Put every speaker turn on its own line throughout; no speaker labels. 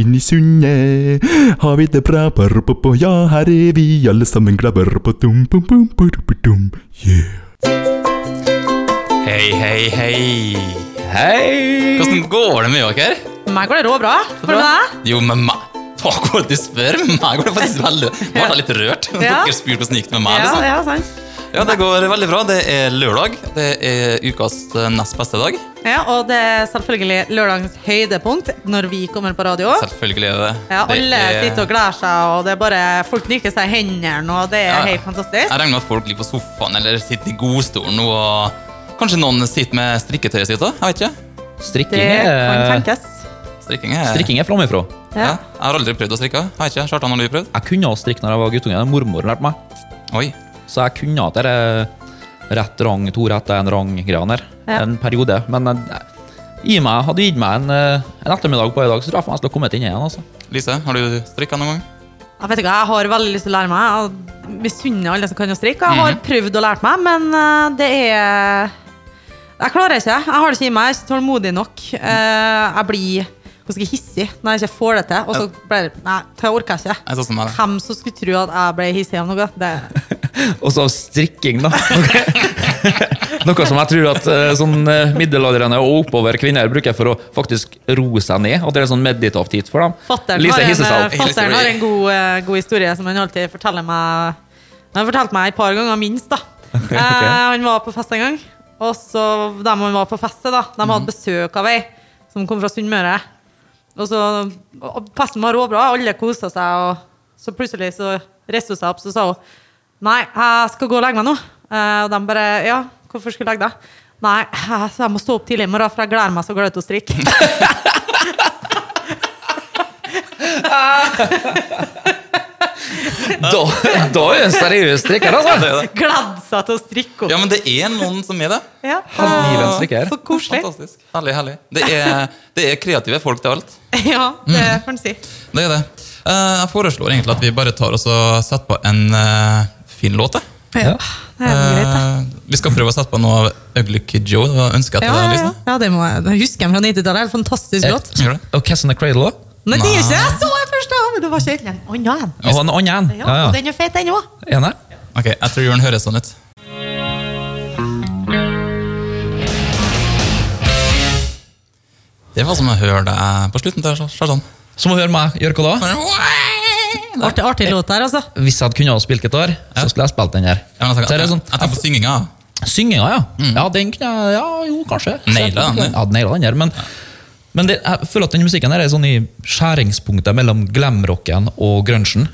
Inn i sundet har vi det bra. Ja, her er vi alle sammen glade. Yeah.
Hei, hei, hei. Hei! Hvordan går det med dere?
Meg går det rå bra. Går det med deg?
Jo, men meg Takk for at du spør. Meg går det faktisk veldig Nå er jeg litt rørt.
Ja.
Dere spurte hvordan det gikk med meg.
Ja,
Liksom.
ja, sant.
Ja, det går veldig bra. Det er lørdag. Det er ukas eh, nest beste dag.
Ja, og det er selvfølgelig lørdagens høydepunkt når vi kommer på radio.
Selvfølgelig er det
Ja, alle sitter og gleder seg, og det er bare folk nikker seg i hendene, og det er
Ja.
helt fantastisk.
Jeg regner med at folk ligger på sofaen eller sitter i godstolen nå og Kanskje noen sitter med strikketøyet sitt òg? Jeg vet ikke.
Strikking
Det kan
er,
tenkes.
Strikking er
strikking er framifrå.
Ja.
Ja.
Jeg har aldri prøvd å strikke. Jeg vet ikke. Kjartan, har du prøvd?
Jeg kunne også strikke når jeg var guttunge. Mormor lærte meg.
Oi.
Så jeg kunne at det er rett rang, to rett, en rang greia der.
Ja.
En periode. Men jeg, i meg, hadde du gitt meg en, eh, en ettermiddag på i dag, så tror jeg faen jeg skulle ha kommet inn igjen. altså.
Lise, har du strikka noen gang?
Jeg vet ikke, jeg har veldig lyst til å lære meg. og Misunner alle som kan å strikke. Jeg
Mhm.
har prøvd å lære meg, men eh, det er Jeg klarer ikke. Jeg har det ikke i meg. Jeg er ikke tålmodig nok. Eh, Jeg blir ganske hissig når jeg ikke får det til. Og så blir det Nei, det orker jeg ikke.
Jeg er sånn som meg.
Hvem som skulle tro at jeg ble hissig av noe? Det,
Og så strikking, da. Noe som jeg tror at eh, sånn eh, middelaldrende og oppover kvinner bruker for å faktisk roe seg ned. At det er en sånn meditativt for dem.
fatteren
Lise
har, en,
hisser seg
eh,
opp.
fatteren har en god, eh, god historie som han alltid forteller meg Han har fortalt meg et par ganger, minst. da. Eh, han var på fest en gang, og så de han var på fest til, da, de
Mhm.
hadde besøk av ei som kom fra Sunnmøre. Og så, og og festen var råbra, alle kosa seg, og så plutselig så reiste hun seg opp så sa hun Nei, jeg skal gå og legge meg nå. Eh, og de bare Ja, hvorfor skulle du legge deg? Nei, jeg så jeg må stå opp tidlig i morgen, for jeg gleder meg så glad til å strikke.
Da, da er du en seriøs strikker, altså!
Gledd seg til å strikke opp.
Ja, men det er noen som er det.
Ja.
Livens strikker.
Så koselig.
Fantastisk. Herlig, herlig. Det er, det er kreative folk til alt.
Ja, det får en si.
Det er det. Eh, Jeg foreslår egentlig at vi bare tar oss og setter på en eh, fin låt. jeg.
Ja, det er greit, da.
Eh, Vi skal prøve å sette på noe av Ugly Kid Joe. Hva ønsker jeg
Ja,
til
ja,
deg,
ja.
Lise?
ja, det må jeg det husker jeg fra 90-tallet. Helt fantastisk låt.
Gjør det.
Og Kiss in the Cradle òg.
Nei, det er ikke det! Så jeg først da! men Det var ikke helt en annen en.
Og en annen en.
Ja, Og den er fet, den òg.
Enig?
Ok, jeg tror den høres sånn ut. Det var som å høre deg på slutten der, Sjardan.
Så må du høre meg gjøre hva da?
Jeg
Artig, artig låt der, altså.
Hvis jeg hadde kunnet ha spilt gitar, så skulle jeg spilt den her.
tenker
Så er
altså, jeg
det sånn,
tenker på synginga.
Synginga, ja. Ja, den kunne jeg Ja, jo, kanskje.
Naila Mm. den,
Ja, naila den her, men men det, jeg føler at den musikken her er sånn i skjæringspunktet mellom glamrocken og grunchen.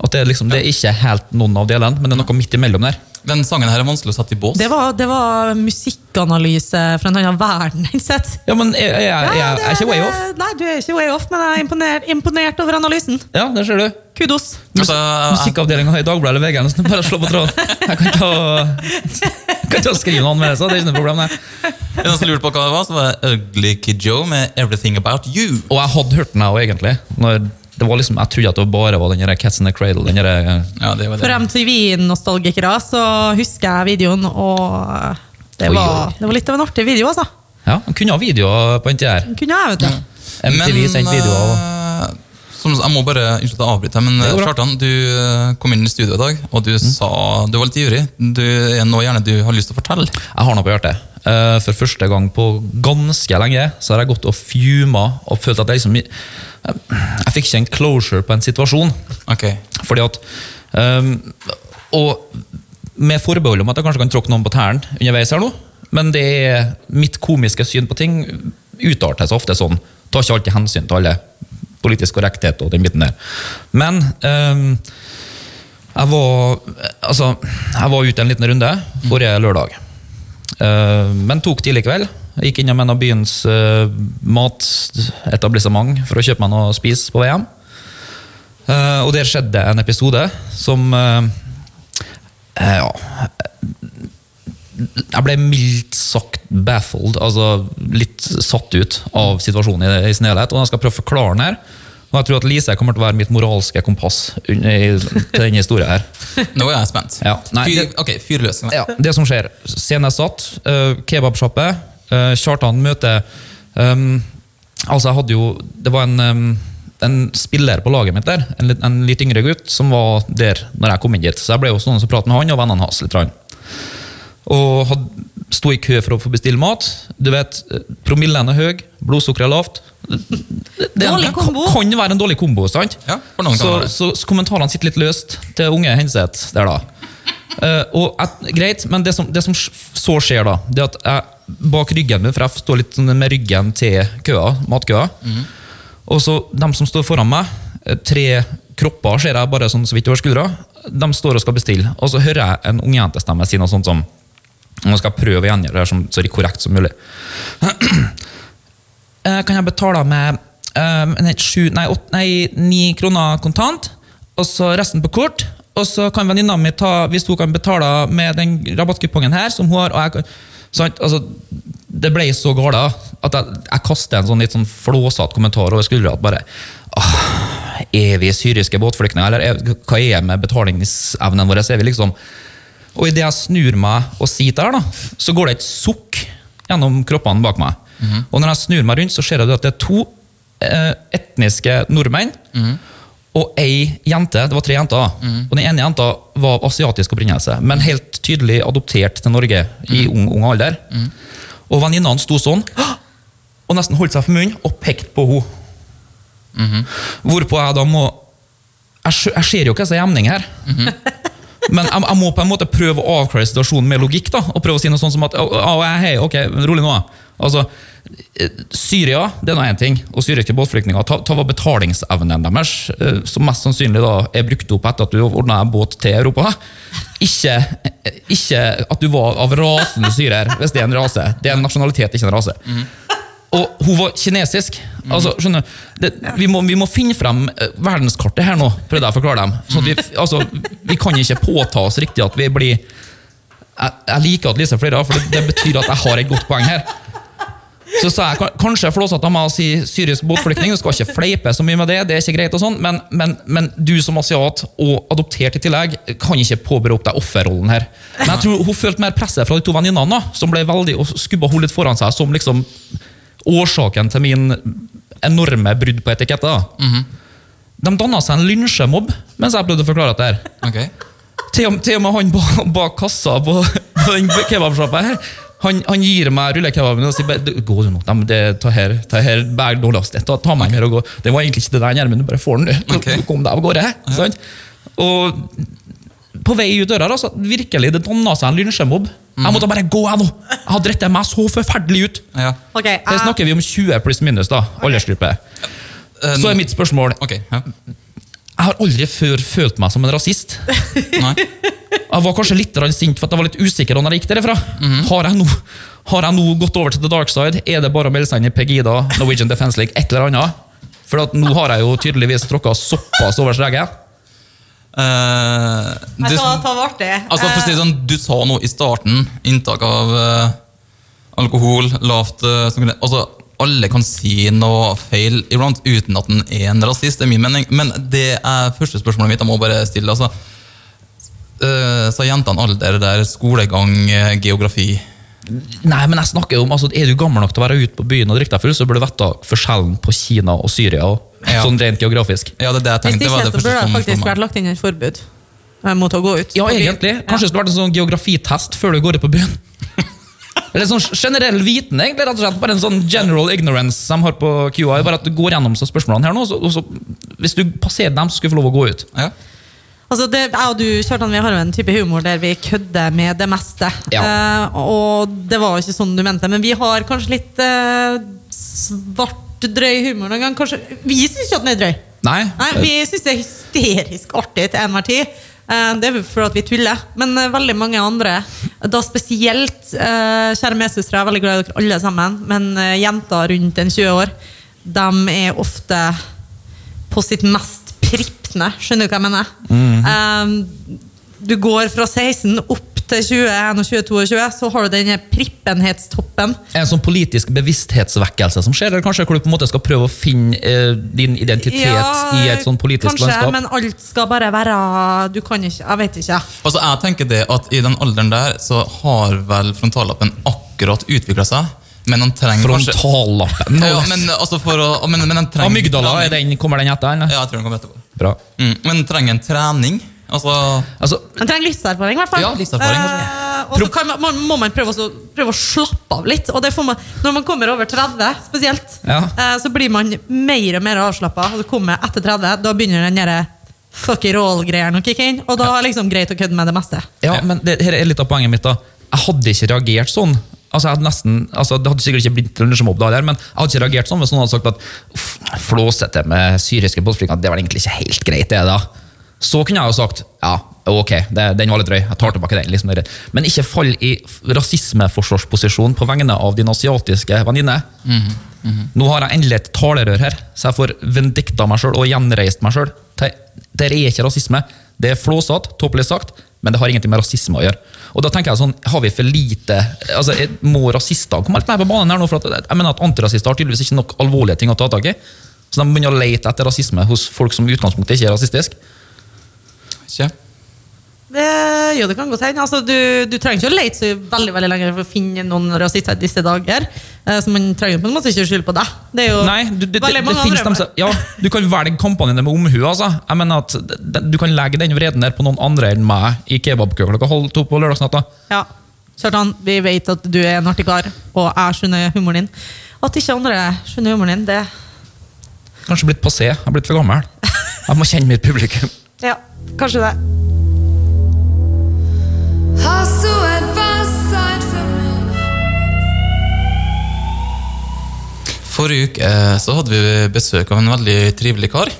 At det, er liksom, det er ikke helt noen av delene, men det er noe midt imellom der.
Den sangen her er vanskelig å sette i bås.
Det var, det var musikkanalyse fra en annen verden. ikke sant?
Ja, men jeg, jeg, jeg, jeg,
det-
er ikke way off.
det- Nei, du er ikke way off, men jeg er imponert, imponert over analysen.
Ja, der ser du.
Kudos.
Altså,
Musikkavdelinga i Dagbladet eller VG, eller sånn, bare slå på tråden. Jeg kan ta, kan ta og skrive noe anmeldelse, det er ikke noe problem. det.
Er det noen som lurte på hva det var, så var det Ugly Kid Joe med 'Everything About You'.
Og jeg hadde hørt den jeg også, egentlig. Når det var liksom, jeg trodde at det bare var den der Cats in the Cradle. Den der,
Ja, det var
For
det.
MTV-nostalgikere så husker jeg videoen, og eh, det
Oi,
var,
oi.
det var litt av en artig video, altså.
ja, han kunne ha videoer på den tida her.
Den kunne jeg, vet du.
MTV sendte videoer. og-
eh, som, jeg må bare unnskyld at jeg avbryter, men
Det går bra. Mm.
Kjartan, du eh, kom inn i studio i dag, og du sa Du var litt ivrig. Du er noe gjerne du har lyst til å fortelle.
Jeg har noe på hjertet. Eh, For første gang på ganske lenge så har jeg gått og fjuma og følt at jeg liksom Jeg, jeg fikk ikke en closure på en situasjon.
Ok.
Fordi at ehm, Og med forbehold om at jeg kanskje kan tråkke noen på tærne underveis her nå, men det er mitt komiske syn på ting utarter seg ofte sånn. Tar ikke alltid hensyn til alle politisk korrekthet og den biten der. Men ehm, jeg var Altså, jeg var ute en liten runde forrige lørdag. Eh, men tok tidlig kveld. Jeg Gikk innom en av byens eh, matetablissement for å kjøpe meg noe å spise på vei hjem. Eh, og der skjedde en episode som eh, eh, Ja Jeg ble mildt sagt baffled, altså litt satt ut av situasjonen i, i sin helhet. Og jeg skal prøve å forklare den her. Og jeg tror at Lise kommer til å være mitt moralske kompass under- i- til denne historien her.
Nå er jeg spent.
Ja, nei,
Fyr,
det-
ok, fyr løs.
Ja, det som skjer. Scenen er satt. eh, Kebabsjappe. Eh, Kjartan møter ehm, Altså, jeg hadde jo Det var en, ehm, en spiller på laget mitt der, en, litt- en litt yngre gutt, som var der når jeg kom inn dit. Så jeg ble jo sånn som pratet med han og vennene hans litt. grann. Og hadde, sto i kø for å få bestille mat. Du vet, eh, Promillen er høy, blodsukkeret er lavt. Det, det,
Dårlig
det kan,
kombo.
kan være en dårlig kombo. sant?
Ja, for noen kan
så,
det være.
så, så kommentarene sitter litt løst til unge Henseth der, da. Eh, og jeg- greit, men det som, det som så skjer, da, det at jeg bak ryggen min, for jeg står litt sånn med ryggen til køa, matkøa
Mhm.
Og så dem som står foran meg, eh, tre kropper ser jeg bare sånn så vidt over skuldra, de står og skal bestille. Og så hører jeg en ungjentestemme si noe sånt som Nå skal jeg prøve å gjengjelde det her som- så korrekt som mulig. Eh, kan jeg betale med eh, nei, sju, nei, åt, nei, ni kroner kontant, og så resten på kort. Og så kan venninna mi ta, hvis hun kan betale med den rabattkupongen her, som hun har og jeg, kan- sant? altså, Det ble så gale at jeg, jeg kastet en sånn litt sånn flåsete kommentar over skuldra. at bare, «Åh, Er vi syriske båtflyktninger, eller er, hva er med betalingsevnen vår? Er vi liksom, og idet jeg snur meg og sitter der, da, så går det et sukk gjennom kroppene bak meg. Og når jeg snur meg rundt, så ser jeg at det er to eh, etniske nordmenn og ei jente. Det var tre jenter. da. Og den ene jenta var av asiatisk opprinnelse, men helt tydelig adoptert til Norge i ung, ung alder. Og venninna hans sto sånn «Hå!» og nesten holdt seg for munnen og pekte på henne. Hvorpå jeg da må Jeg, skjø- jeg ser jo hva som er emning her. Men jeg, jeg må på en måte prøve å avklare situasjonen med logikk. da, og prøve å si noe sånt som at «Å, å, å, hei, ok, rolig nå. Altså, eh, Syria det er nå én ting, og syriske båtflyktninger. Ta, ta var betalingsevnen deres, eh, som mest sannsynlig da er brukt opp etter at du ordna en båt til Europa. Ikke, eh, ikke at du var av rasen syrer, hvis det er en rase. Det er en nasjonalitet, ikke en rase. Og hun var kinesisk. Altså, skjønner du, det, vi, må, vi må finne frem eh, verdenskartet her nå, prøvde jeg å forklare dem. Sånn at vi, altså, vi kan ikke påta oss riktig at vi blir Jeg, jeg liker at Lise flirer, for det, det betyr at jeg har et godt poeng her. Så sa jeg "Kan- kanskje flåsete av meg å si syrisk båtflyktning, du skal ikke fleipe så mye med det, det er ikke greit og sånn, men, men, men du som asiat og adoptert i tillegg kan ikke påberope deg offerrollen her. Men jeg tror hun følte mer presset fra de to venninnene, da, som ble veldig og skubba hun litt foran seg som liksom årsaken til min enorme brudd på etikette. da. De danna seg en lynsjemobb mens jeg prøvde å forklare dette. her.
Ok.
Til og, til og med han bak, bak kassa på, på den kebabsjappa her, han, han gir meg rullekebaben og sier bare, «Du, 'Gå du nå, Nei, men det, ta her, ta her bæg dårligst, ta, ta meg her og gå'. Det var egentlig ikke det der, Gjermund, du bare får den, du.
Ok.
Du Kom deg av gårde. sant? Og på vei ut døra, da, så virkelig, det danna seg en lynsjemobb. Jeg måtte bare gå, jeg nå! Jeg hadde dritt meg så forferdelig ut.
Ja.
Ok,
Her
jeg,
snakker vi om 20 pluss minus, da, aldersgruppe.
Eh,
Så er mitt spørsmål
Ok, ja.
Jeg har aldri før følt meg som en rasist.
Nei.
Jeg var kanskje litt grann sint for at jeg var litt usikker når jeg gikk derifra.
Mhm.
Har, jeg nå, har jeg nå gått over til the dark side? Er det bare å melde seg inn i Pegida, Norwegian Defence League, et eller annet? For at nå har jeg jo tydeligvis tråkka såpass over streken.
Eh, du,
jeg skal ta vart det.
altså, for å si det sånn, du sa noe i starten. Inntak av eh, alkohol, lavt eh, som- Altså, alle kan si noe feil iblant uten at en er en rasist, det er min mening. Men det er første spørsmålet mitt jeg må bare stille. altså. Eh, sa jentene alder der, skolegang, eh, geografi?
Nei, men jeg snakker jo om, altså, Er du gammel nok til å være ute på byen og drikke deg full, så burde du vite forskjellen på Kina og Syria. og
Ja.
Sånn rent geografisk.
Ja, det er det jeg
Eh, Hvis
tenkte.
ikke,
var
så
det første
burde det
som slo
faktisk
meg.
vært lagt inn et forbud eh, mot å gå ut.
Ja,
på byen.
egentlig. Kanskje det skulle vært en sånn geografitest før du går ut på byen. Eller sånn generell viten, egentlig. rett og slett. Bare en sånn general ignorance de har på QI. Bare at du går gjennom så spørsmålene her nå, så, og så, hvis du passerer dem, så skal du få lov å gå ut.
Ja.
Altså, det, jeg og du, Kjartan, vi har jo en type humor der vi kødder med det meste.
Ja.
Eh, og det var jo ikke sånn du mente, men vi har kanskje litt eh, svart drøy humor noen gang. Kanskje, vi syns ikke at den er drøy.
Nei.
Nei, Vi syns det er hysterisk artig til enhver tid. Eh, det er jo for at vi tuller. Men eh, veldig mange andre, da spesielt eh, kjære medsøstre, jeg er veldig glad i dere alle sammen, men eh, jenter rundt en 20 år, de er ofte på sitt mest prippende. Skjønner du hva jeg mener?
Mm.
Eh, du går fra 16 opp til 21 og 22 og 20, så har du denne prippenhetstoppen.
En sånn politisk bevissthetsvekkelse som skjer, eller kanskje hvor du på en måte skal prøve å finne eh, din identitet i et sånn politisk
kanskje,
landskap?
men alt skal bare være Du kan ikke Jeg vet ikke.
Altså, jeg tenker det at I den alderen der så har vel frontallappen akkurat utvikla seg. Men han trenger kanskje
Frontallappen.
ja, men, altså for å, men, men han trenger
Amygdala, er den, kommer den etter? Eller?
Ja, jeg tror han kommer etterpå.
Bra.
Mm. Men han trenger en trening. Altså,
Altså,
Man trenger livserfaring, i hvert fall.
Ja, livserfaring, kanskje.
Eh, og så kan man, man, må man prøve, også, prøve å slappe av litt. Og det får man, når man kommer over 30, spesielt,
Ja.
eh, så blir man mer og mer avslappa. Og så kommer etter 30, da begynner den derre fuck it all-greia å kicke inn. Og da er det liksom greit å kødde med det meste.
Ja, men det, her er litt av poenget mitt. da. Jeg hadde ikke reagert sånn. Altså, jeg hadde nesten, altså, det hadde sikkert ikke blitt til lunsjmobb, da, heller, men jeg hadde ikke reagert sånn hvis noen hadde sagt at «Uff, flåsete med syriske båtflyktninger, det var egentlig ikke helt greit. det da. Så kunne jeg jo sagt ja, ok, det, den var litt drøy, jeg tar tilbake den. liksom det er greit. Men ikke fall i f- rasismeforsvarsposisjon på vegne av din asiatiske venninne. Nå har jeg endelig et talerør her, så jeg får vendikta meg sjøl og gjenreist meg sjøl. Det er ikke rasisme. Det er flåsete, tåpelig sagt, men det har ingenting med rasisme å gjøre. Og da tenker jeg sånn, har vi for lite altså, jeg- Må rasister komme litt mer på banen her nå? For at, jeg mener at Antirasister har tydeligvis ikke nok alvorlige ting å ta tak i. Så de begynner å lete etter rasisme hos folk som i utgangspunktet ikke er rasistiske.
ikke?
Det, jo, det kan godt hende. Altså, du, du trenger ikke å lete så veldig veldig lenge for å finne noen rasister i disse dager. Eh, så man trenger på en måte ikke å skylde på deg. Det er jo
Nei, du, det, det, det,
veldig mange
finnes dem
andre.
som ja, Du kan velge kampene dine med omhu. Altså. Jeg mener at d- d- Du kan legge den vreden der på noen andre enn meg i kebabkø klokka halv to på lørdagsnatta.
Ja. Kjartan, vi vet at du er en artig kar, og jeg skjønner humoren din. At ikke andre skjønner humoren din, det
Kanskje blitt passé. Jeg har blitt for gammel. Jeg må kjenne mitt publikum.
Ja, kanskje det.
Hast du etwas Zeit für mich?
Forrige uke eh, så hadde vi besøk av en veldig trivelig kar.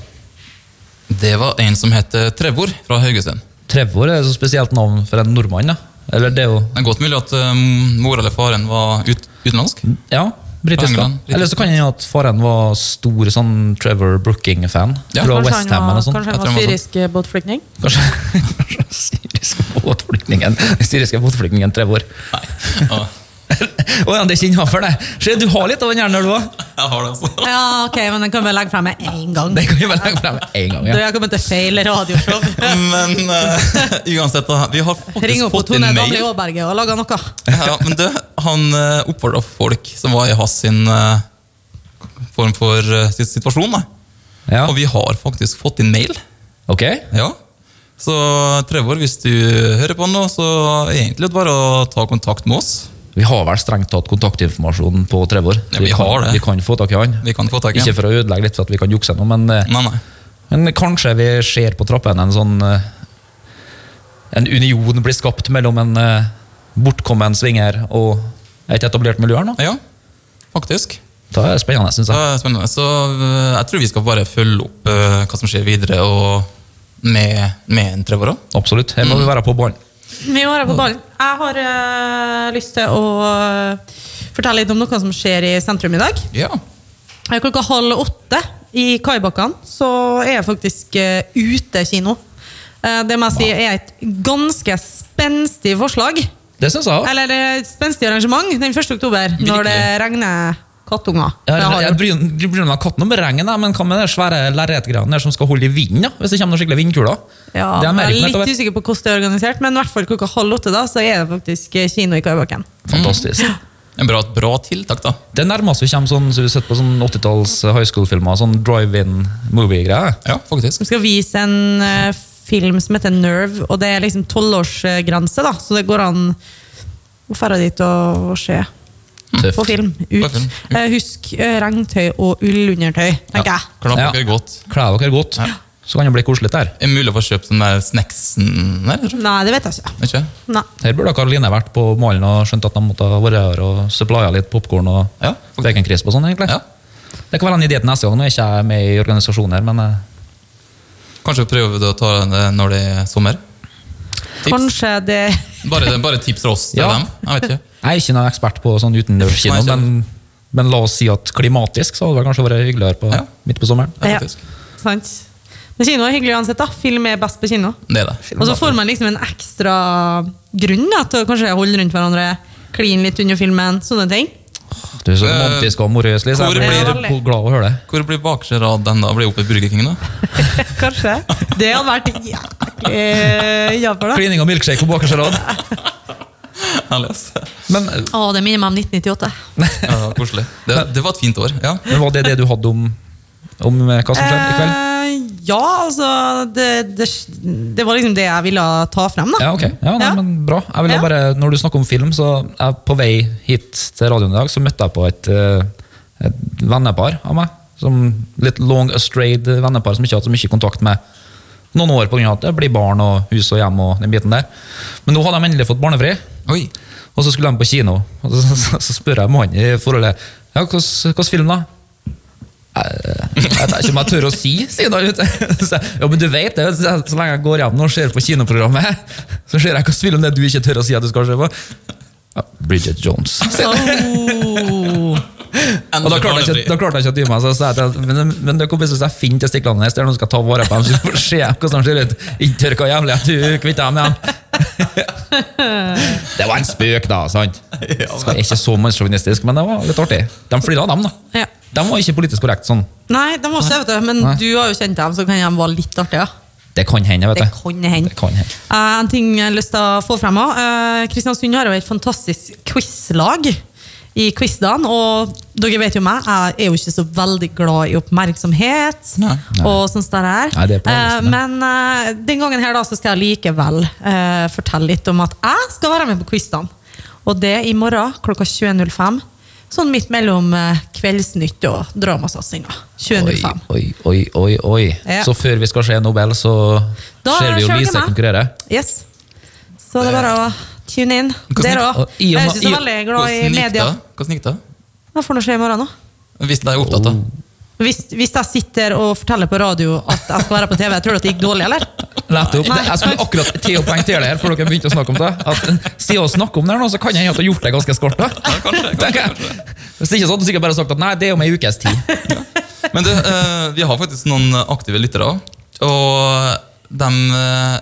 Det var en som het eh, Trevor fra Haugesund.
Trevor er et så spesielt navn for en nordmann. Da. Eller det er jo
Det er godt mulig at eh, mor eller faren var ut, utenlandsk.
Ja, britisk. da.
England, britisk.
Eller så kan jeg at faren var stor sånn Trevor Brooking-fan.
Ja,
Fra
Kanskje
West
han
Ham
var,
eller sånn.
kanskje han
Jeg
var
tror han var
syrisk eh, båtflyktning?
Kanskje, kanskje den syriske båtflyktningen Den syriske båtflyktningen Trevor.
Nei, ja,
Å ja, det er ikke innafor, det! Se, du har litt av den hjernen, du òg!
jeg har det altså.
Ja, ok, men den kan vi legge frem med én gang.
Det kan vi bare legge frem med en gang.
Du,
Ja. Mm.
jeg kommer til feil radioshow.
Men eh, uansett, da, vi har
Ring
faktisk
opp på
fått
Tone
inn
Damli
mail.
Aaberge og lag noe.
Ja, men du, han uh, oppfordra folk som var i hans sin eh, form for eh, sin situasjon. Da.
Ja.
Og vi har faktisk fått inn mail.
Ok?
Ja. Så Trevor, hvis du hører på nå, så er det egentlig bare å ta kontakt med oss.
Vi har vel strengt tatt kontaktinformasjon på Trevor.
Ja, vi har
kan,
det.
vi kan få tak i han.
Vi kan Mm. få tak i
Ikke
ham.
for å ødelegge litt, for at vi kan jukse nå, men, eh,
Nei, nei.
men kanskje vi ser på trappene en sånn eh, En union blir skapt mellom en eh, bortkommen svinger og et etablert miljø her nå.
Ja, faktisk.
Det er spennende, syns
Det
jeg.
er spennende. Så eh, jeg tror vi skal bare følge opp eh, hva som skjer videre, og med, med en Trevor òg.
Absolutt. Her
Mm.
må vi være på ballen.
Vi må være
Mm.
på ballen. Jeg har eh, lyst til å eh, fortelle litt om noe som skjer i sentrum i dag.
Ja.
Eh, Klokka halv åtte i Kaibakkene så er jeg faktisk eh, ute kino. Eh, det må jeg si er et ganske spenstig forslag.
Det syns jeg òg.
Eller eh, spenstig arrangement den 1. oktober,
Virkelig.
når det regner kattunger. Det har
Jeg
gjort.
bryr jeg bryr meg om katten om regnet, men hva med de svære lerretgreiene der som skal holde i vinden? da, Hvis det kommer noen skikkelige vindkuler?
Ja,
det er
jeg er
merket,
litt usikker på hvordan det er organisert, men i hvert fall klokka halv åtte da, så er det faktisk eh, kino i Kaibakken.
Fantastisk.
En bra, bra tiltak, da.
Det er nærmest vi kommer sånn, så vi sitter på sånn 80-talls high school-filmer, sånn drive-in-movie-greier.
Ja, faktisk.
De skal vise en eh, film som heter Nerve, og det er liksom tolvårsgrense, da, så det går an å dra dit og, og se. På
Tøft.
film.
På
Ut.
film, ut.
Eh, husk eh, regntøy og ullundertøy, tenker
Ja,
jeg.
Klapp
Ja.
dere godt.
Kle dere godt, så kan det bli koselig der.
Er det mulig å få kjøpt den der snacksen der? eller?
Nei, det vet jeg ikke.
Ikke?
Nei.
Her burde Karoline vært på malen og skjønt at de måtte ha vært her og supplya litt popkorn og
Ja, faktisk.
baconcrisp og sånn, egentlig.
Ja.
Det kan være en idé til neste gang. Nå er ikke jeg med i organisasjonen her, men eh,
Kanskje prøve å ta den eh, når det er sommer? Tips.
Kanskje det
Bare, bare tips fra oss til
Ja.
dem. Jeg vet ikke.
jeg er ikke noen ekspert på sånn utendørskino,
Nei, ikke
men, men la oss si at klimatisk så hadde det kanskje vært hyggeligere på,
Ja.
midt på sommeren.
Ja,
Ja.
faktisk.
Sant. Men kino er hyggelig uansett. da. Film er best på kino.
Det er det.
Og så får man liksom en ekstra grunn da, til å kanskje holde rundt hverandre, kline litt under filmen, sånne ting.
Du er så romantisk og morøs, Lise.
Eh, hvor
Jeg blir
blir-
glad å høre det.
Hvor blir bakre rad den da? Blir oppe i Burger King, da?
Kanskje. Det hadde vært jæklig eh, ja for det.
Klining og milkshake på bakerste rad.
Jeg leser.
Men,
Å, det minner meg om 1998.
Ja, koselig. Det, det var et fint år. ja.
men var det det du hadde om, om hva som skjedde i kveld?
Eh, ja, altså det, det, det var liksom det jeg ville ta frem, da.
Ja, ok. Ja, nei,
Ja.
men Bra. Jeg ville
Ja.
bare, Når du snakker om film, så er jeg på vei hit til radioen i dag, så møtte jeg på et, eh, et vennepar av meg. Som litt long astrayed vennepar som ikke har hatt så mye kontakt med noen år pga. at det blir barn og hus og hjem og den biten der. Men nå har de endelig fått barnefri,
Oi.
og så skulle de på kino. Og så, så, så spør jeg mannen i forholdet ja, hvilken film da? Jeg vet ikke om jeg tør å si, sier han. vet du. Så jeg, Ja, men du vet det, så jeg- så lenge jeg går igjen og ser på kinoprogrammet, så ser jeg hvilken film det er du ikke tør å si at du skal se på. Ja, Bridget Jones.
Oh.
Og da klarte jeg ikke, da klarte jeg ikke å dy meg, så jeg sa jeg til han, men, men det kommer hvis jeg finner til stikklandet hennes, der noen skal ta vare på dem, så får se hvordan de ser ut. Ikke tør hva jævlig at du kvitter dem igjen. Det var en spøk da, sant? Skal ikke så mannssjåvinistisk, men det var litt artig. De flirte av dem da.
Ja.
De var ikke politisk korrekt sånn.
Nei, de var ikke det, vet du. Men
Nei.
du har jo kjent dem, så kan de være litt artige. Ja.
Det kan hende, vet du.
Det kan hende.
Det kan hende.
Eh, en ting jeg har lyst til å få frem også. Eh, Kristiansund har jo et fantastisk quizlag i quizdagen, og dere vet jo meg, jeg er jo ikke så veldig glad i oppmerksomhet
Nei.
og sånt der her.
Nei, det er på den
Eh,
listen, ja.
men eh, den gangen her da, så skal jeg likevel eh, fortelle litt om at jeg skal være med på quizdagen. Og det i morgen klokka 20.05, sånn midt mellom eh, kveldsnytt og dramasatsingen. 20.05.
Oi, oi, oi, oi.
Ja.
Så før vi skal se Nobel, så
Da
ser vi jo
ser dere
Lise
meg.
konkurrere.
Yes. Så det er bare å tune inn.
Hvordan
Dere
gikk-
òg.
og i
Jeg
og
er
med-
ikke så
i-
veldig glad i media.
Hvordan gikk det?
Hva får nå skje i morgen, da?
Hvis jeg er opptatt,
Oh.
da.
Hvis, hvis jeg sitter og forteller på radio at jeg skal være på TV, tror du at det gikk dårlig, eller?
Nettopp.
Nei.
Jeg skulle akkurat til å poengtere det her, for dere begynte å snakke om det. At, siden å snakke om det her nå, så kan jeg hende at du har gjort det ganske skarpt. da. Tenker jeg. Hvis ikke sånn, så hadde du sikkert bare sagt at nei, det er om ei ukes tid.
Men du, eh, vi har faktisk noen aktive lyttere òg. Og de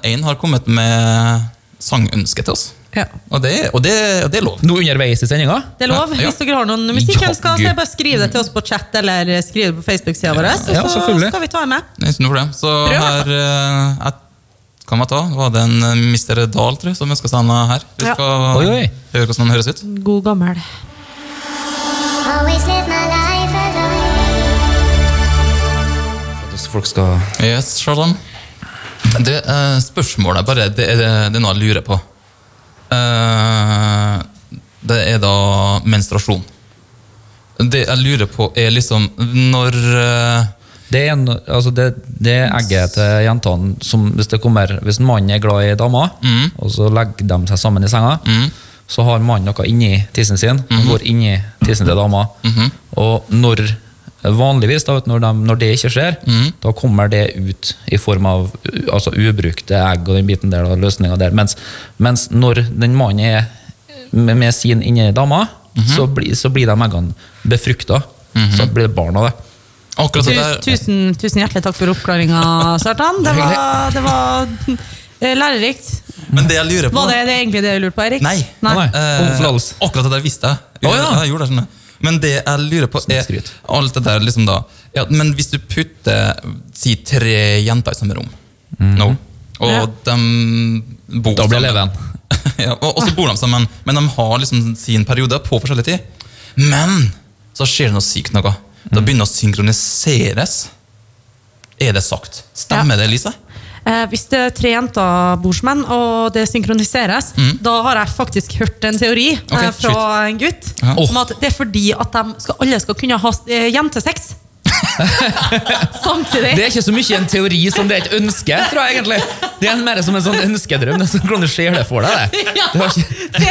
én har kommet med sangønske til oss.
Ja.
Og det, og det, og det er lov.
Nå underveis i sendinga.
Det er lov.
Ja.
Hvis dere har noen musikkønsker, så
Jaggu.
er det bare å skrive det til oss på chat eller skriv det på Facebook-sida vår, og
Ja,
så
selvfølgelig.
skal vi ta det med.
Det er Ikke noe problem. Så
i hvert
her eh, jeg, kan man ta? Var det en eh, Mr. Dahl, tror jeg, som ønska seg noe her? Vi
Ja.
skal
Oi, oi.
høre hvordan han høres ut.
God gammel.
Always live my life alone.
Folk skal
Yes, Sharzan. Det eh, spørsmålet er bare det er, det er noe jeg lurer på. Eh, det er da menstruasjon. Det jeg lurer på, er liksom når eh,
Det er, en, altså det, det er egget til jentene som hvis, det kommer, hvis en mann er glad i dama, og så legger de seg sammen i senga, så har mannen noe inni tissen sin, og går inni tissen til dama. Og når, vanligvis, da, vet du, når, de, når det ikke skjer, da kommer det ut i form av u- altså, ubrukte egg og den biten der, da, løsninga der. Mens, mens når den mannen er med, med sin inni dama, så, blir- så blir de eggene befrukta. Så blir det barn av det.
Akkurat det
Tusen,
der
tusen, tusen hjertelig takk for oppklaringa, Sartan. Det var, det var eh, lærerikt.
Men det jeg lurer på
Var det, det er egentlig det du lurte på, Erik?
Nei.
Nei.
Eh,
Om forlatelse.
akkurat det der visste jeg.
Å, ja.
jeg gjorde det, skjønner du. Men det jeg lurer på, er
Snikskryt.
alt det der liksom da ja, Men hvis du putter si tre jenter i samme rom nå, og
Ja.
de bor
Mhm. Da blir
sammen-
leven.
ja, og, og så bor de sammen, men de har liksom sin periode på forskjellig tid. Men så skjer det noe sykt noe.
Mhm.
Da begynner det å synkroniseres. Er det sagt? Stemmer det, Lise?
Eh, hvis det er tre jenter bordsmenn, og det synkroniseres,
Mm.
da har jeg faktisk hørt en teori eh, fra en gutt
Ja.
om at det er fordi at de skal, alle skal kunne ha eh, jentesex samtidig.
Det er ikke så mye en teori som det er et ønske, tror jeg egentlig. Det er mer som en sånn ønskedrøm. Det er sånn hvordan skjer det for deg? Det,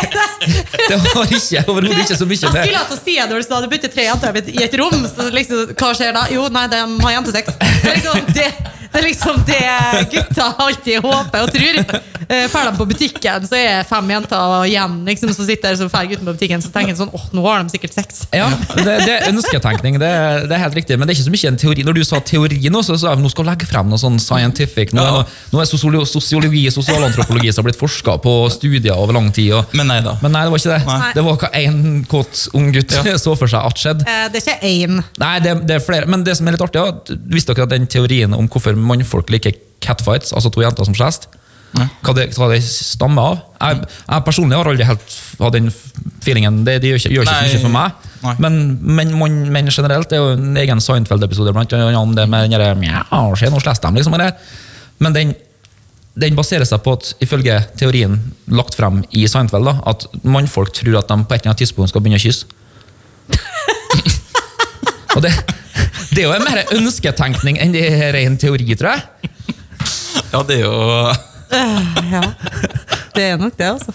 Ja, det er
det har ikke,
det.
det har ikke overhodet ikke så mye
Jeg
med
skulle hatt å si det når du sa du bytter tre jenter i et rom. Så liksom, hva skjer da? Jo, nei, de har jentesex. Det er liksom det, det, er liksom det gutta alltid håper og tror. Eh, Fer de på butikken, så er fem jenter igjen liksom, som sitter der, så fer gutten på butikken, så tenker de sånn åh, nå har de sikkert sex.
ja, det, det er ønsketenkning, det, er- det er helt riktig. Men det er ikke så mye en teori. Når du sa teori nå, så sa jeg nå skal jeg legge frem noe sånn scientific. Nå er,
Ja.
noe- nå er sosiolo- sosiologi og sosialantropologi som har blitt forska på og studier over lang tid. Og,
Men nei da.
men nei, det var ikke det.
Nei.
Det var hva en kåt ung gutt
Ja.
så for seg at skjedde.
Eh, Det er ikke én.
Nei, det, det er flere. Men det som er litt artig, ja, visste dere at den teorien om hvorfor mannfolk liker catfights, altså to jenter som skjest, Hva det, hva det stammer av. Jeg, jeg personlig har aldri helt hatt den feelingen. Det, det gjør ikke, gjør ikke så
Nei.
mye for meg.
Nei.
Men, men, men, men generelt det er jo en egen Seinfeld-episode blant annet om det med den derre «Mjau, se, nå slåss de, liksom. Eller. Men den, den baserer seg på at, ifølge teorien lagt frem i Seinfeld, da, at mannfolk tror at de på et eller annet tidspunkt skal begynne å kysse. Og det, det er jo en mer ønsketenkning enn det er ren teori, tror jeg.
Ja, det er jo
Ja. Det er nok det, altså.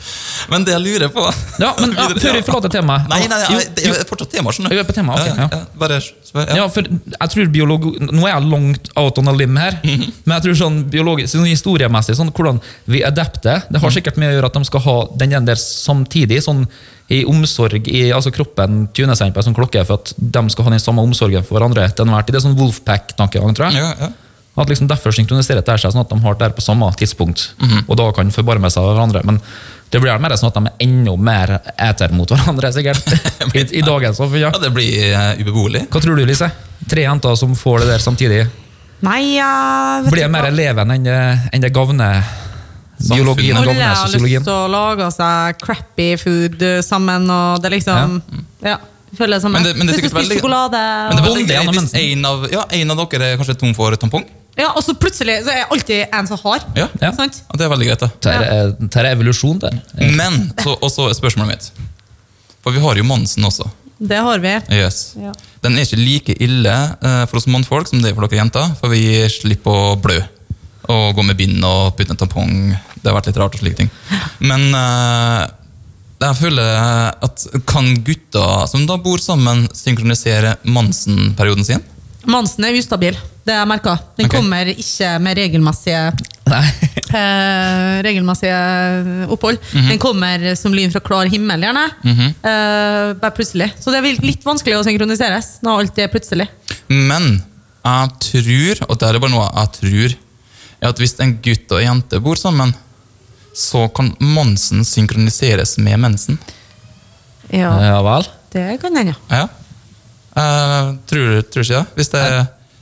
Men det jeg lurer på
Ja, men ja, Før vi forlater temaet
Nei, nei, nei,
Jo,
det er fortsatt tema, skjønner du.
Vi er på tema, ok, ja.
Bare spør.
Ja,
Ja.
for jeg tror biologi Nå er jeg langt out on a limb her, men jeg tror sånn biologisk, sånn historiemessig sånn, Hvordan vi adapter Det har sikkert mye å gjøre at de skal ha den ene der samtidig. sånn i omsorg, i, altså Kroppen tuner seg inn på en sånn klokke for at de skal ha den samme omsorgen for hverandre. til enhver tid. Det er sånn Wolfpack-tankegang, tror jeg.
Ja, ja.
At liksom Derfor synkroniserer det seg, sånn at de har det her på samme tidspunkt. Og da kan forbarme seg av hverandre. Men det blir mer sånn at de er enda mer eter mot hverandre, sikkert. I, i dagens samfunn, ja.
ja, det blir eh, ubeboelig.
Hva tror du, Lise? Tre jenter som får det der samtidig.
Nei, jeg vet
Blir det
ikke
mer
hva.
levende enn det, enn det gavner biologien og
Samfunnet.
Alle
gavner
har lyst
sosiologien?
til å lage seg crappy food eh, sammen, og det er liksom Ja. jeg Føler det samme.
Men det- men det er
Hvis du
sikkert
spiser
veldig-
sjokolade
Men det er
og-
veldig
Bonde
greit
gjennom
hvis en av, ja, en av dere er kanskje tom for tampong.
Ja, Og så plutselig så er det alltid en som har.
Ja,
Ja.
Sant?
Ja, Det er veldig greit, det.
Dette er- dette er eh, evolusjon, der.
Men så også er spørsmålet mitt For vi har jo Monsen også.
Det har vi.
Yes.
Ja.
Den er ikke like ille eh, for oss mannfolk som det er for dere jenter, for vi slipper å blø og gå med bind og putte en tampong. Det har vært litt rart og slike ting. Men eh, jeg føler at kan gutter som da bor sammen, synkronisere Mansen-perioden sin?
Mansen er ustabil. Det har jeg merka. Den
Ok.
kommer ikke med regelmessige
Nei.
eh, regelmessige opphold.
Mhm.
Den kommer som lyn fra klar himmel, gjerne. eh, bare plutselig. Så det er vel litt vanskelig å synkroniseres når alt er plutselig.
Men jeg tror, og det er bare noe jeg tror, er at hvis en gutt og en jente bor sammen, så kan Monsen synkroniseres med mensen. Eh.
Ja,
Ja vel.
det kan hende.
Ja. Eh, tror, tror ikke det? Hvis det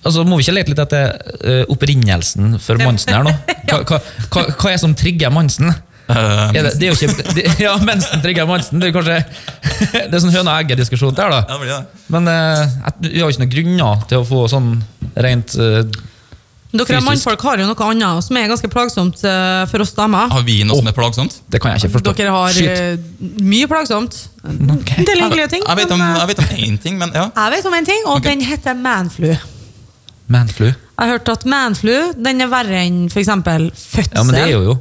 Altså, Må vi ikke lete litt etter eh, opprinnelsen for Monsen her nå? Hva, hva, hva, hva er det som trigger Monsen?
Eh,
Er det, det er jo ikke, det, ja, mensen trigger Monsen. Det er jo kanskje det er sånn høna-egget-diskusjon der, da.
Ja, det blir det.
Men eh, jeg- vi har jo ikke noen grunner til å få sånn rent eh,
Dere
Fysisk.
mannfolk har jo noe annet som er ganske plagsomt eh, for oss damer.
Har vi noe som er plagsomt?
Det kan jeg ikke forstå.
Dere har
Shit.
eh, mye plagsomt. En del hyggelige ting.
Jeg vet om,
men, eh,
jeg vet om én ting, men ja.
jeg vet om en ting, og
Ok.
den heter manflu. Jeg
Manflu.
har hørt at manflu den er verre enn f.eks. fødsel.
Ja, men det er jo jo.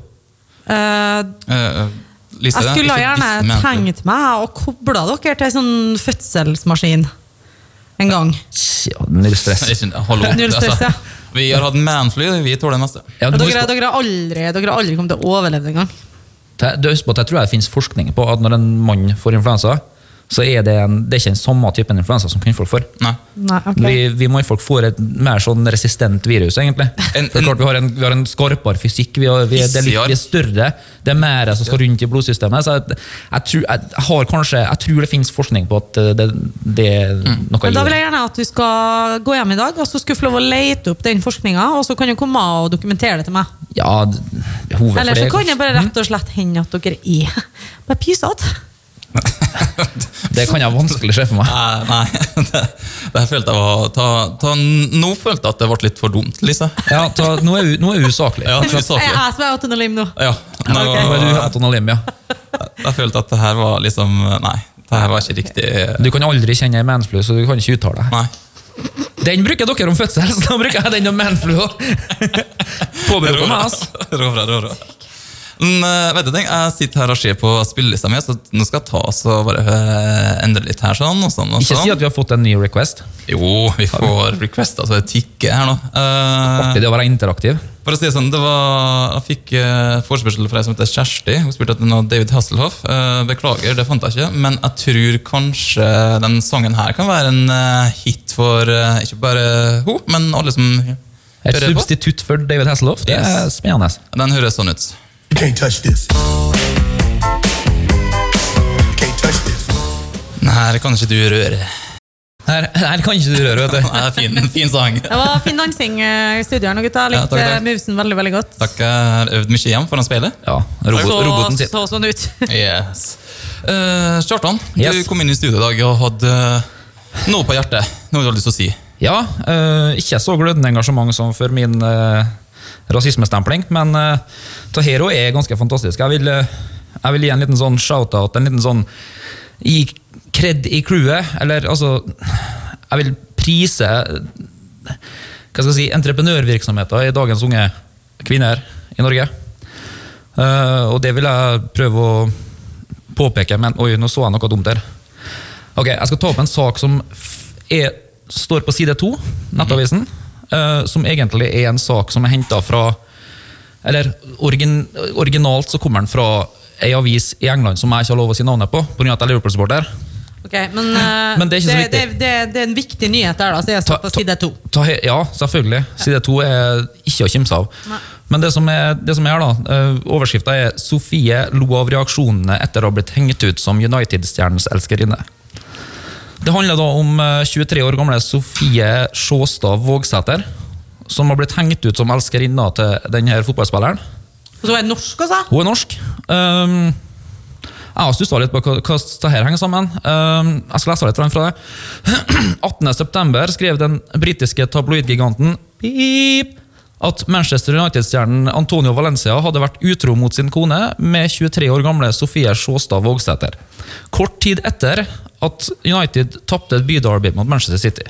Eh,
Eh, Lise,
jeg
ikke
skulle
disse
gjerne
menn.
tenkt meg å koble dere til en sånn fødselsmaskin en gang.
Ja, null stress.
Nei, ikke- Hallo. Altså,
Null stress, ja.
Vi har hatt manfly, vi tåler det meste.
Ja, du må
Dere,
huske
dere, har aldri, dere har aldri kommet til å overleve det engang.
på- du husker på at jeg tror det finnes forskning på at når en mann får influensa, så er det, en, det er ikke den samme typen influensa som kvinnfolk får.
Nei.
Nei, ok.
Vi, vi mannfolk får et mer sånn resistent virus, egentlig.
En-
For
en-
klart, vi, har en, vi har en skarpere fysikk, vi, har, vi, er, det er litt, vi er større, det er mer som skal rundt i blodsystemet. Så jeg, jeg, tror, jeg, har kanskje, jeg tror det finnes forskning på at det, det er noe
Mm.
Men da
i
vil
det.
jeg gjerne at du skal gå hjem i dag og så skal du få lov å lete opp den forskninga. Og så kan du komme og dokumentere det til meg.
Ja, d- behovet for
Eller så
det Hm? er
kan det bare rett og slett hende at dere er bare pysete.
Det kan jeg vanskelig se for meg.
Nei, nei. Det, det her følte jeg var ta, ta, Nå følte jeg at det ble litt for dumt, Lise.
Ja, ta, nå er hun- nå er hun usaklig.
Ja, det er
Jeg
saklig.
er som er out on a limb nå.
Ja, nå,
Nå er du Anton Alim, ja.
jeg følte at det her var liksom Nei, det her var ikke riktig.
Du kan aldri kjenne en manflu, så du kan ikke uttale deg.
Nei.
Den bruker dere om fødsel, så da bruker jeg den om manflu òg. Påberoper meg, altså.
Rå fra, rå fra. Men, eh, vet du ting, Jeg sitter her og ser på spillelista mi, så nå skal jeg ta oss og bare eh, endre litt her. sånn og sånn og
Ikke
sånn.
si at vi har fått en ny request.
Jo, vi får request, altså det tikker her nå. Eh,
Artig det å være interaktiv.
For å si det sånn, det var, Jeg fikk eh, forespørsel fra ei som heter Kjersti. Hun spurte etter noe David Hasselhoff. Eh, beklager, det fant jeg ikke. Men jeg tror kanskje den sangen her kan være en eh, hit for eh, ikke bare hun, men alle som
Et
hører på.
substitutt for David Hasselhoff. Det er
Yes.
spennende.
Den høres sånn ut.
Can't touch this. Can't touch this.
Den her kan ikke du røre.
Her, her kan ikke du røre, vet
Nei,
du.
det er fin, fin sang.
Det var fin dansing eh, i studio her nå, gutta.
Ja,
Likte
takk, takk.
movesen veldig, veldig godt.
Takk, jeg har øvd mye hjem foran speilet.
Ja, robot,
så,
roboten sitt.
så sånn ut.
Yes. Eh, Kjartan, du
Yes.
kom inn i studio i dag og hadde eh, noe på hjertet. Noe du hadde lyst til å si.
Ja, eh, ikke så glødende engasjement som for min eh, rasismestempling, men uh, Tahero er ganske fantastisk. Jeg vil, eh, jeg vil gi en liten sånn shout-out, en liten sånn i kred i crewet, eller altså Jeg vil prise eh, hva skal jeg si, entreprenørvirksomheter i dagens unge kvinner i Norge. Eh, og det vil jeg prøve å påpeke, men oi, nå så jeg noe dumt her. Ok, Jeg skal ta opp en sak som f- er, står på side to, Nettavisen. eh, som egentlig er en sak som er henta fra Eller origin, originalt så kommer den fra ei avis i England som jeg ikke har lov å si navnet på, pga. at jeg er Liverpool-supporter.
Ok, men, eh,
Men det er ikke
det,
så viktig.
det, det er en viktig nyhet der, da, så jeg
Ta-
står på
ta-
side to.
Ta, he- ja, selvfølgelig. Side to er ikke å kimse av. Men det som er, det som er da, eh, overskrifta er 'Sofie lo av reaksjonene etter å ha blitt hengt ut som United-stjernens elskerinne'. Det handler da om eh, 23 år gamle Sofie Sjåstad Vågsæter, som har blitt hengt ut som elskerinna til denne fotballspilleren.
Og så var jeg norsk, altså.
Hun er norsk. Ehm, jeg har stussa litt på hva hva dette her henger sammen. Ehm, jeg skal lese litt fra den fra deg. 18.9. skrev den britiske tabloidgiganten Beep at Manchester United-stjernen Antonio Valencia hadde vært utro mot sin kone med 23 år gamle Sofie Sjåstad Vågsæter. Kort tid etter at United tapte et byderby mot Manchester City.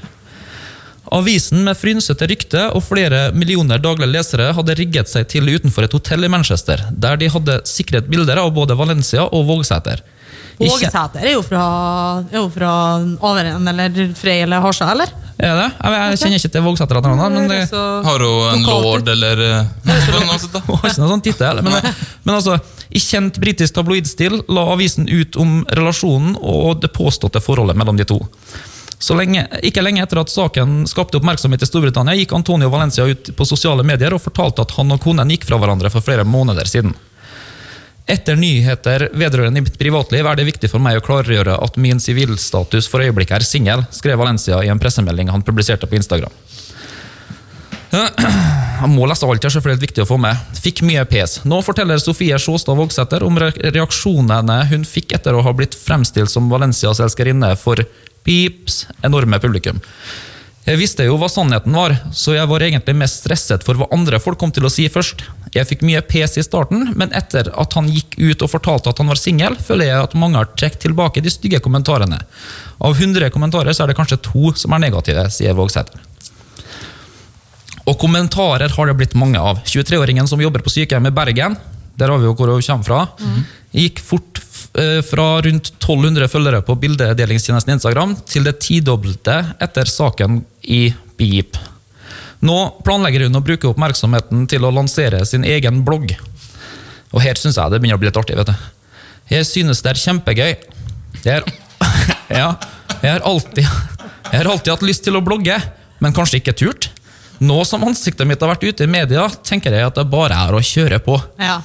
Avisen med frynsete rykte og flere millioner daglige lesere hadde rigget seg til utenfor et hotell i Manchester, der de hadde sikret bilder av både Valencia og Vågsæter. I kje-
Vågesæter er jo fra, er jo fra Overend eller Frei eller Harstad, eller?
Er det? Jeg, jeg kjenner ikke til Vågsæter eller noe, men det
Høres så-
Har hun en
Lokalt.
lord eller eh, noe sånt? da?
Hun har ikke noen sånn tittel. Men, men altså, i kjent britisk tabloidstil la avisen ut om relasjonen og det påståtte forholdet mellom de to. Så lenge, ikke lenge etter at saken skapte oppmerksomhet i Storbritannia, gikk Antonio Valencia ut på sosiale medier og fortalte at han og konen gikk fra hverandre for flere måneder siden. Etter nyheter vedrørende mitt privatliv er det viktig for meg å klargjøre at min sivilstatus for øyeblikket er singel, skrev Valencia i en pressemelding han publiserte på Instagram. Han må lese alt, det er selvfølgelig viktig å få med. Fikk mye pes. Nå forteller Sofie Sjåstad Vågsæter om re- reaksjonene hun fikk etter å ha blitt fremstilt som Valencias elskerinne for Pips enorme publikum. Jeg visste jo hva sannheten var, så jeg var egentlig mest stresset for hva andre folk kom til å si først. Jeg fikk mye pes i starten, men etter at han gikk ut og fortalte at han var singel, føler jeg at mange har trukket tilbake de stygge kommentarene. Av 100 kommentarer så er det kanskje to som er negative, sier Vågsæter. Og kommentarer har det blitt mange av. 23-åringen som jobber på sykehjem i Bergen, der har vi jo hvor hun kommer fra, gikk fort f- eh, fra rundt 1200 følgere på bildedelingstjenesten Instagram til det tidobbelte etter saken i Beep. Nå planlegger hun å bruke oppmerksomheten til å lansere sin egen blogg. Og her syns jeg det begynner å bli litt artig. vet du. Jeg synes det er kjempegøy. Jeg er, ja, jeg har alltid, jeg har alltid hatt lyst til å blogge, men kanskje ikke turt. Nå som ansiktet mitt har vært ute i media, tenker jeg at det bare er å kjøre på.
Ja.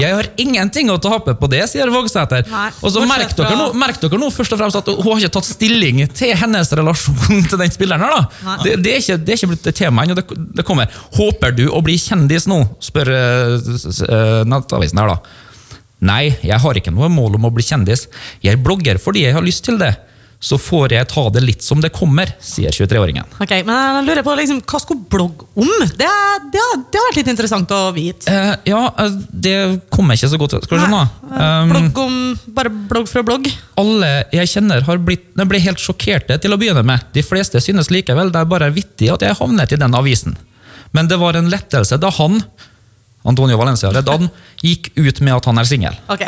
Jeg har ingenting å tape på det, sier Vågsæter.
Nei,
Og så
bortsett
merk dere,
fra-
nå, merk dere nå først og fremst at hun har ikke tatt stilling til hennes relasjon til den spilleren. her da.
Nei.
Det, det, er ikke, det er ikke blitt et tema ennå. Det, det kommer. Håper du å bli kjendis nå? spør eh, s- s- eh, Nettavisen her, da. Nei, jeg har ikke noe mål om å bli kjendis. Jeg blogger fordi jeg har lyst til det. Så får jeg ta det litt som det kommer, sier 23-åringen.
Ok, men jeg lurer på liksom, Hva skulle blogg om? Det, er- det, er- det har vært litt interessant å vite.
Eh, ja, eh, det kommer ikke så godt. Skal du skjønne?
Nei, eh,
Um,
blogg om, bare blogg fra blogg.
Alle jeg kjenner har blitt, de ble helt sjokkerte til å begynne med. De fleste synes likevel det er bare vittig at jeg havnet i den avisen. Men det var en lettelse da han, Antonio Valencia, da han gikk ut med at han er singel.
Ok,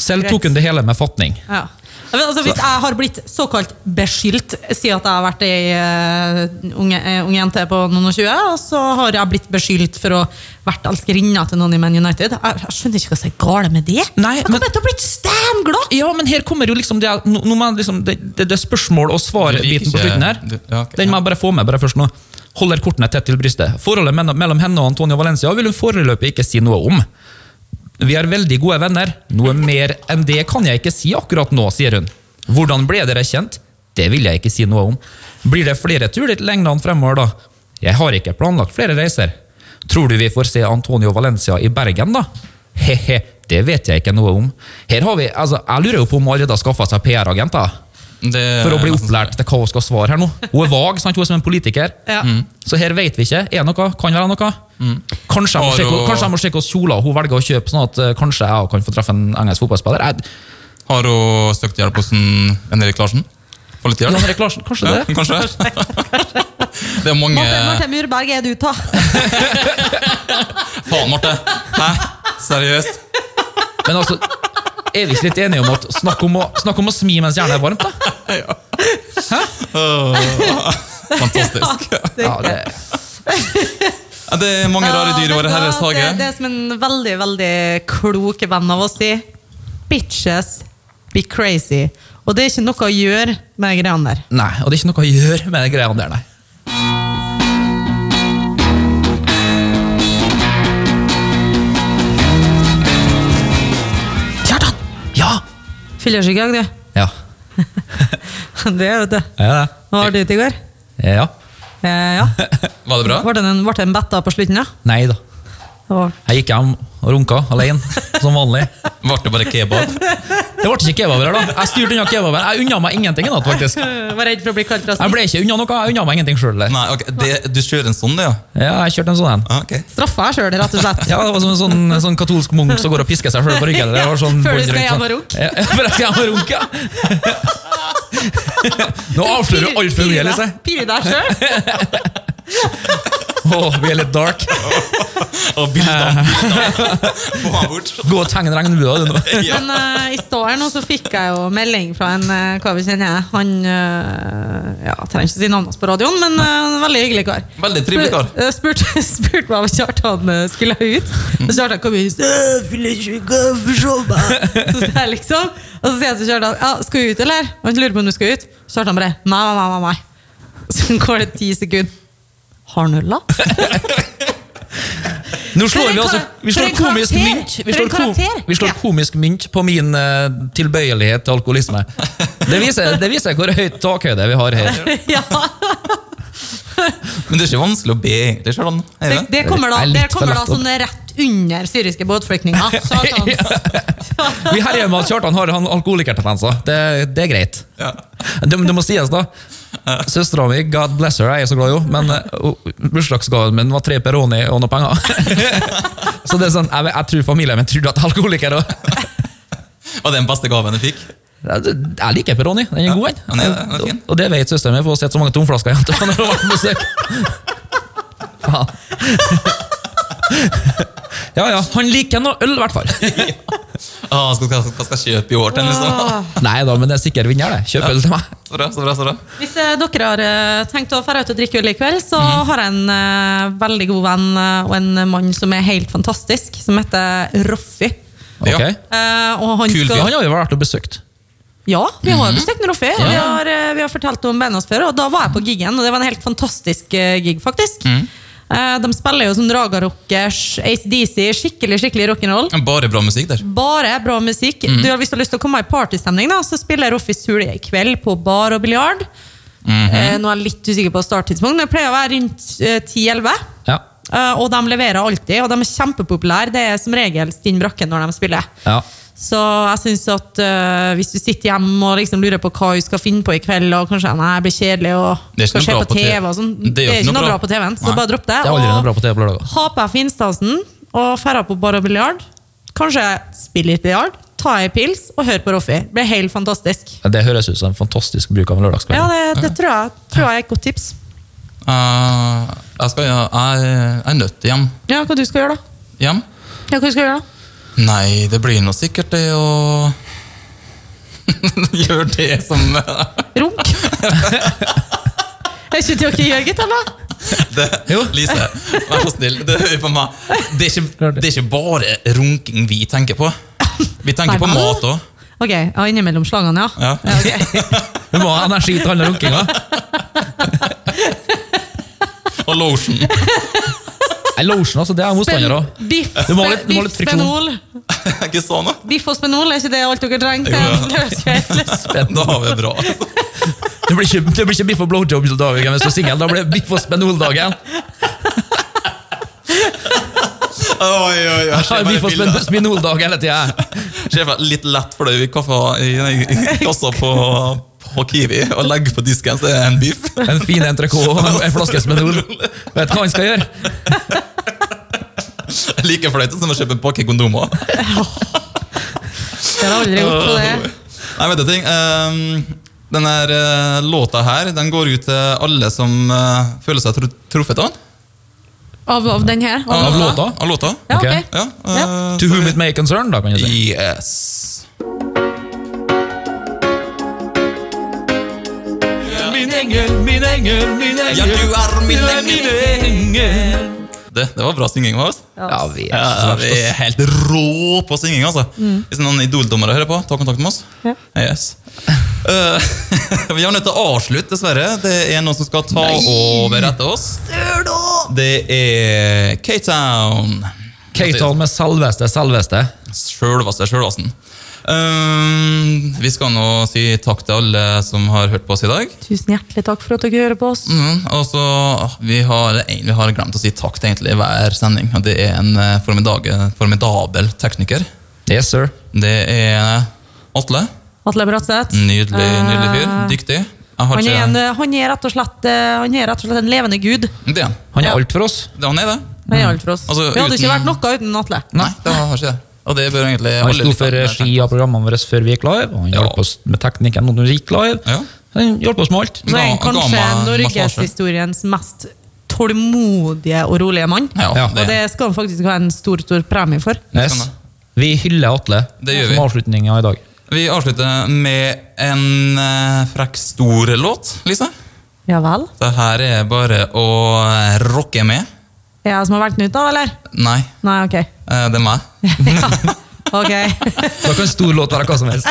Selv
greit.
tok hun det hele med fatning.
Ja. Jeg vet, altså, hvis jeg har blitt såkalt beskyldt, si at jeg har vært ei eh, unge, eh, unge jente på noen og tjue, og så har jeg blitt beskyldt for å ha vært elskerinna til noen i Man United. Jeg, jeg skjønner ikke hva som er galt med det.
Nei,
jeg
men-
kommer til å bli steinglad!
Ja, men her kommer jo liksom det, nå, nå må jeg liksom det, det, det spørsmål-
Du
og
liker
svar-biten på
ikke-
slutten her.
du- ja, ok,
Den må
ja.
jeg bare få med bare først nå. Holder kortene tett til brystet. Forholdet mellom mellom henne og Antonio Valencia vil hun foreløpig ikke si noe om. Vi er veldig gode venner. Noe mer enn det kan jeg ikke si akkurat nå, sier hun. Hvordan ble dere kjent? Det vil jeg ikke si noe om. Blir det flere turer til England fremover, da? Jeg har ikke planlagt flere reiser. Tror du vi får se Antonio Valencia i Bergen, da? He-he, det vet jeg ikke noe om. Her har vi, altså, Jeg lurer jo på om hun allerede har skaffa seg PR-agenter
Det-
for å bli opplært til hva hun skal svare her nå. Hun er vag, sant? hun er som en politiker. Mm.
Ja.
Så her vet vi ikke. Er det noe? Kan være noe? Mm. Kanskje jeg må
Har
sjekke-
hun-
kanskje jeg må sjekke hvilke kjoler hun velger å kjøpe, sånn at eh, kanskje jeg også kan få treffe en engelsk fotballspiller. Jeg,
Har hun søkt hjelp hos en Henrik Larsen? Politihjelp?
Jan Erik Larsen, kanskje
Ja,
det?
kanskje. Det er mange
Marte, Marte Murberg er du, ta.
Faen, Marte! Hæ? Seriøst?
Men altså, er vi ikke litt enige om at snakk om å, snakk om å smi mens hjernen er varmt, da?
Fantastisk.
Ja, det,
Ja, Det er mange rare dyr i vår herres
Det, det
hage.
er som en veldig, veldig klok venn av oss sier. Bitches be crazy. Og det er ikke noe å gjøre med greiene der.
nei, og det er ikke noe å gjøre med de greiene der, nei.
Kjartan!
Ja!
Fyllesyk i dag, du.
Ja,
Det er vet du.
jeg er det.
Hva var du ute i går?
Ja.
Eh, ja.
Var det bra?
Ble det en, ble det en betta på slutten, da?
Nei da.
Det var-
Jeg gikk hjem og runka alene, som vanlig.
Ble det bare kebab?
Det ble ikke kebab her, da. Jeg styrte unna kebaben. Jeg unna meg ingenting i natt, faktisk.
Jeg Var redd for å bli kalt rasist.
Jeg ble ikke unna noe. Jeg unna meg ingenting sjøl.
Nei, ok, det, Du kjører en sånn, det, ja?
Ja, jeg kjørte en sånn en.
Ah, ok.
Straffa jeg sjøl, rett og slett.
Ja, det var som en sånn, sånn katolsk munk som går og pisker seg sjøl på ryggen. Det var sånn
Før du
bånd rundt
skal hjem og
sånn.
runke.
Ja, ja, før jeg skal hjem og runke, ja. Nå avslører du altfor mye, liksom. Lise.
Pir deg sjøl.
Å, vi er litt dark.
Og bildene Få han bort.
Gå og tegne regnbua, du nå.
Ja.
Men eh, i stad her nå så fikk jeg jo melding fra en eh, hva vi kjenner jeg. Han eh, ja, jeg trenger ikke si navnet hans på radioen, men eh, en veldig hyggelig kar.
Veldig trivelig kar.
Spur- eh, Spurte spurt meg om Kjartan eh, skulle ut.
Mm.
Og Kjartan kom inn og Så sier jeg liksom Og så sier jeg til Kjartan ja, skal du ut, eller? Og han lurer på om du skal ut. Så Kjartan bare nei, nei, nei. nei, nei. Så går det ti sekunder. Har han øl, da?
Nå slår
For en
vi altså
kar-
Vi
for
slår
en
komisk
karakter!
mynt Vi
For
slår,
en
ko-
karakter!
vi slår
Ja.
komisk mynt på min eh, tilbøyelighet til alkoholisme. Det viser, det viser hvor høyt takhøyde vi har her.
ja.
Men det er ikke vanskelig å be, egentlig. Kjartan. Er
Det,
det?
det kommer da,
Det er litt
det kommer da
for lett å-
sånn rett under syriske båtflyktninger. Satan.
Vi herjer med at Kjartan har han alkoholikertendenser. Det, det er greit.
Ja.
Det, det må sies, da. Søstera mi, God bless her, jeg er så glad i henne, men eh, hun- bursdagsgaven min var tre Peroni og noen penger. Så det er sånn, jeg, jeg tror familien min trodde at jeg er alkoholiker også.
Var det den beste gaven jeg fikk?
Jeg jeg liker Peroni, den er god.
den er- den er fin.
Og det vet søsteren min, for hun har sett så mange tomflasker igjen til når hun har vært på besøk. Faen. Ja ja, han liker noe øl, i hvert fall.
Ah, skal, skal, hva skal jeg kjøpe i år til? Liksom.
Åh.
Nei da, men det er sikker vinner, det. Kjøp øl til meg.
Så bra, så bra, så bra.
Hvis eh, dere har eh, tenkt å dra ut og drikke øl i kveld, så
Mhm.
har jeg en eh, veldig god venn eh, og en mann som er helt fantastisk, som heter Roffi.
Ja.
Ok?
Eh, og han
Kul
Ja, Mhm.
skal,
han har jo vært og besøkt.
ja, vi har besøkt Roffi, og vi har, eh, vi har fortalt om bandet hans før. Og da var jeg på giggen, og det var en helt fantastisk eh, gig, faktisk.
Mhm.
Eh, de spiller jo sånn Raga Rockers, Ace DC, skikkelig, skikkelig rock'n'roll.
Bare bra musikk der.
Bare bra musikk. Du har hvis du har lyst til å komme i partystemning, da, så spiller Roffi Sule i kveld på bar og biljard. eh, nå er jeg litt usikker på starttidspunkt, men det pleier å være rundt eh, 10-11.
Ja.
Eh, og de leverer alltid, og de er kjempepopulære. Det er som regel stinn brakke når de spiller.
ja.
Så jeg synes at eh, hvis du sitter hjemme og liksom lurer på hva du skal finne på i kveld, og kanskje nei, det blir kjedelig
Det er
og
ikke noe
skal se
bra
på
på
TV
TV.
og sånn,
Det er jo
ikke noe bra på TV-en, så
Nei.
bare dropp det.
Det er aldri noe
og-
bra på TV på lørdager.
ha på deg finstasen og dra på bar og biljard. Kanskje spille litt biljard, ta ei pils og høre på Roffi. Det blir helt fantastisk.
Det høres ut som en fantastisk bruk av en lørdagskveld.
Ja, det, det tror, jeg, tror jeg er et godt tips.
Eh, jeg, skal, ja, jeg, jeg er nødt til hjem.
Ja, hva du skal gjøre da?
hjem.
Ja, hva du skal gjøre da?
Nei, det blir nå sikkert det å Gjøre det som
Runk? Er ikke det dere gjør, gitt, eller?
det. Lise, vær så snill, det hører på meg. Det er, ikke, det er ikke bare runking vi tenker på. Vi
Nei,
tenker på
hva?
mat òg.
Ok, ja, innimellom slagene, ja.
Ja.
ok.
Hun må ha energi til alle runkinga.
Og lotion.
Nei, Lotion, altså, det er jeg motstander av.
biff,
Du må ha litt- du må ha litt
biff
friksjon.
spenol.
Ikke sånn, da?
Biff og spenol, er ikke det alt dere trenger?
Jo,
til en lørdagskveld?
Da har vi det bra.
Det blir ikke, det blir ikke biff og blowjob-dagen hvis du er singel, da blir det biff og spenol-dagen.
Oi, oi, oi.
Ja, biff og spen- spenol-dag hele tida.
Ser for deg litt lett fløy i kaffa i, i kassa på, på Kiwi og legger på disken, så er det en biff.
En fin entrecôte og en flaske spenol. Vet hva han skal gjøre?
Like fløyt som å kjøpe en pakke kondomer.
Jeg har aldri gjort på det.
Nei, vet du ting. ehm, denne eh, låta her den går ut til alle som eh, føler seg tru truffet av den.
Av, av den her?
Av låta?
Av låta.
Ja, ok.
Ok.
Ja, eh,
Ja.
To whom it may concern, da, kan jeg si.
Yes.
Min engel, min engel, min engel.
Ja, du er min
engel.
Det, det var bra synging av oss.
Ja, vi er ikke så
Ja, vi
verst,
er
ass.
helt rå på synging, altså. Hvis noen idoldommere hører på, ta kontakt med oss.
Ja.
Yes. Eh, vi er nødt til å avslutte, dessverre. Det er noen som skal ta over etter oss. Det er K-Town.
K-Town med selveste, selveste.
Sjølvaste sjølvasten. Eh, vi skal nå si takk til alle som har hørt på oss i dag.
Tusen hjertelig takk for at dere hører på oss.
Mm, og så vi har, en, vi har glemt å si takk til egentlig hver sending, og det er en eh, formidage- formidabel tekniker.
Yes, sir.
Det er Atle.
Atle Bratseth.
Nydelig, nydelig fyr.
Eh,
Dyktig. Jeg har
Han er, en,
ikke
han, er rett og slett, eh, han er rett og slett en levende gud.
Det er han.
Han er
Ja.
alt for oss.
Det er han er det.
Han er alt for oss.
Altså,
Vi hadde ikke
uten-
vært noe uten Atle.
Nei, det har ikke det. Og det bør egentlig
Han
alle
sto
eh,
lytterne
for
lære seg.
regi av programmene våre før vi gikk live. og Han
Ja.
hjalp oss med teknikken når vi gikk live.
Ja.
Han hjalp oss med alt.
Så er han
Ga- ga
kanskje
meg en massasje.
norgeshistoriens mest tålmodige og rolige mann.
Ja,
Ja.
Og det
det,
skal han faktisk ha en stor stor premie for.
Yes.
Sånn da.
Vi hyller Atle
Det gjør
som
vi.
avslutninga i dag.
vi avslutter med en eh, frekk stor låt, Lise.
Ja vel?
Det her er bare å eh, rocke med.
Er jeg som har valgt den ut, da, eller?
Nei,
Nei, ok.
eh, det er meg.
Ja. Ok.
Da kan stor låt være hva som helst.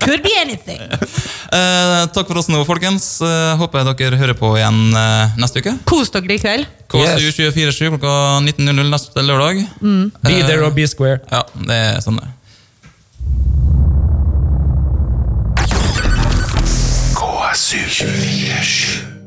Could be anything.
Eh, takk for oss nå, folkens. Eh, håper jeg dere hører på igjen eh, neste uke.
Kos dere i kveld.
KSU 247 klokka 19.00 neste lørdag.
Mm. Be
Eh,
there or be square.
Ja, det er sånn det er.
KSU 247.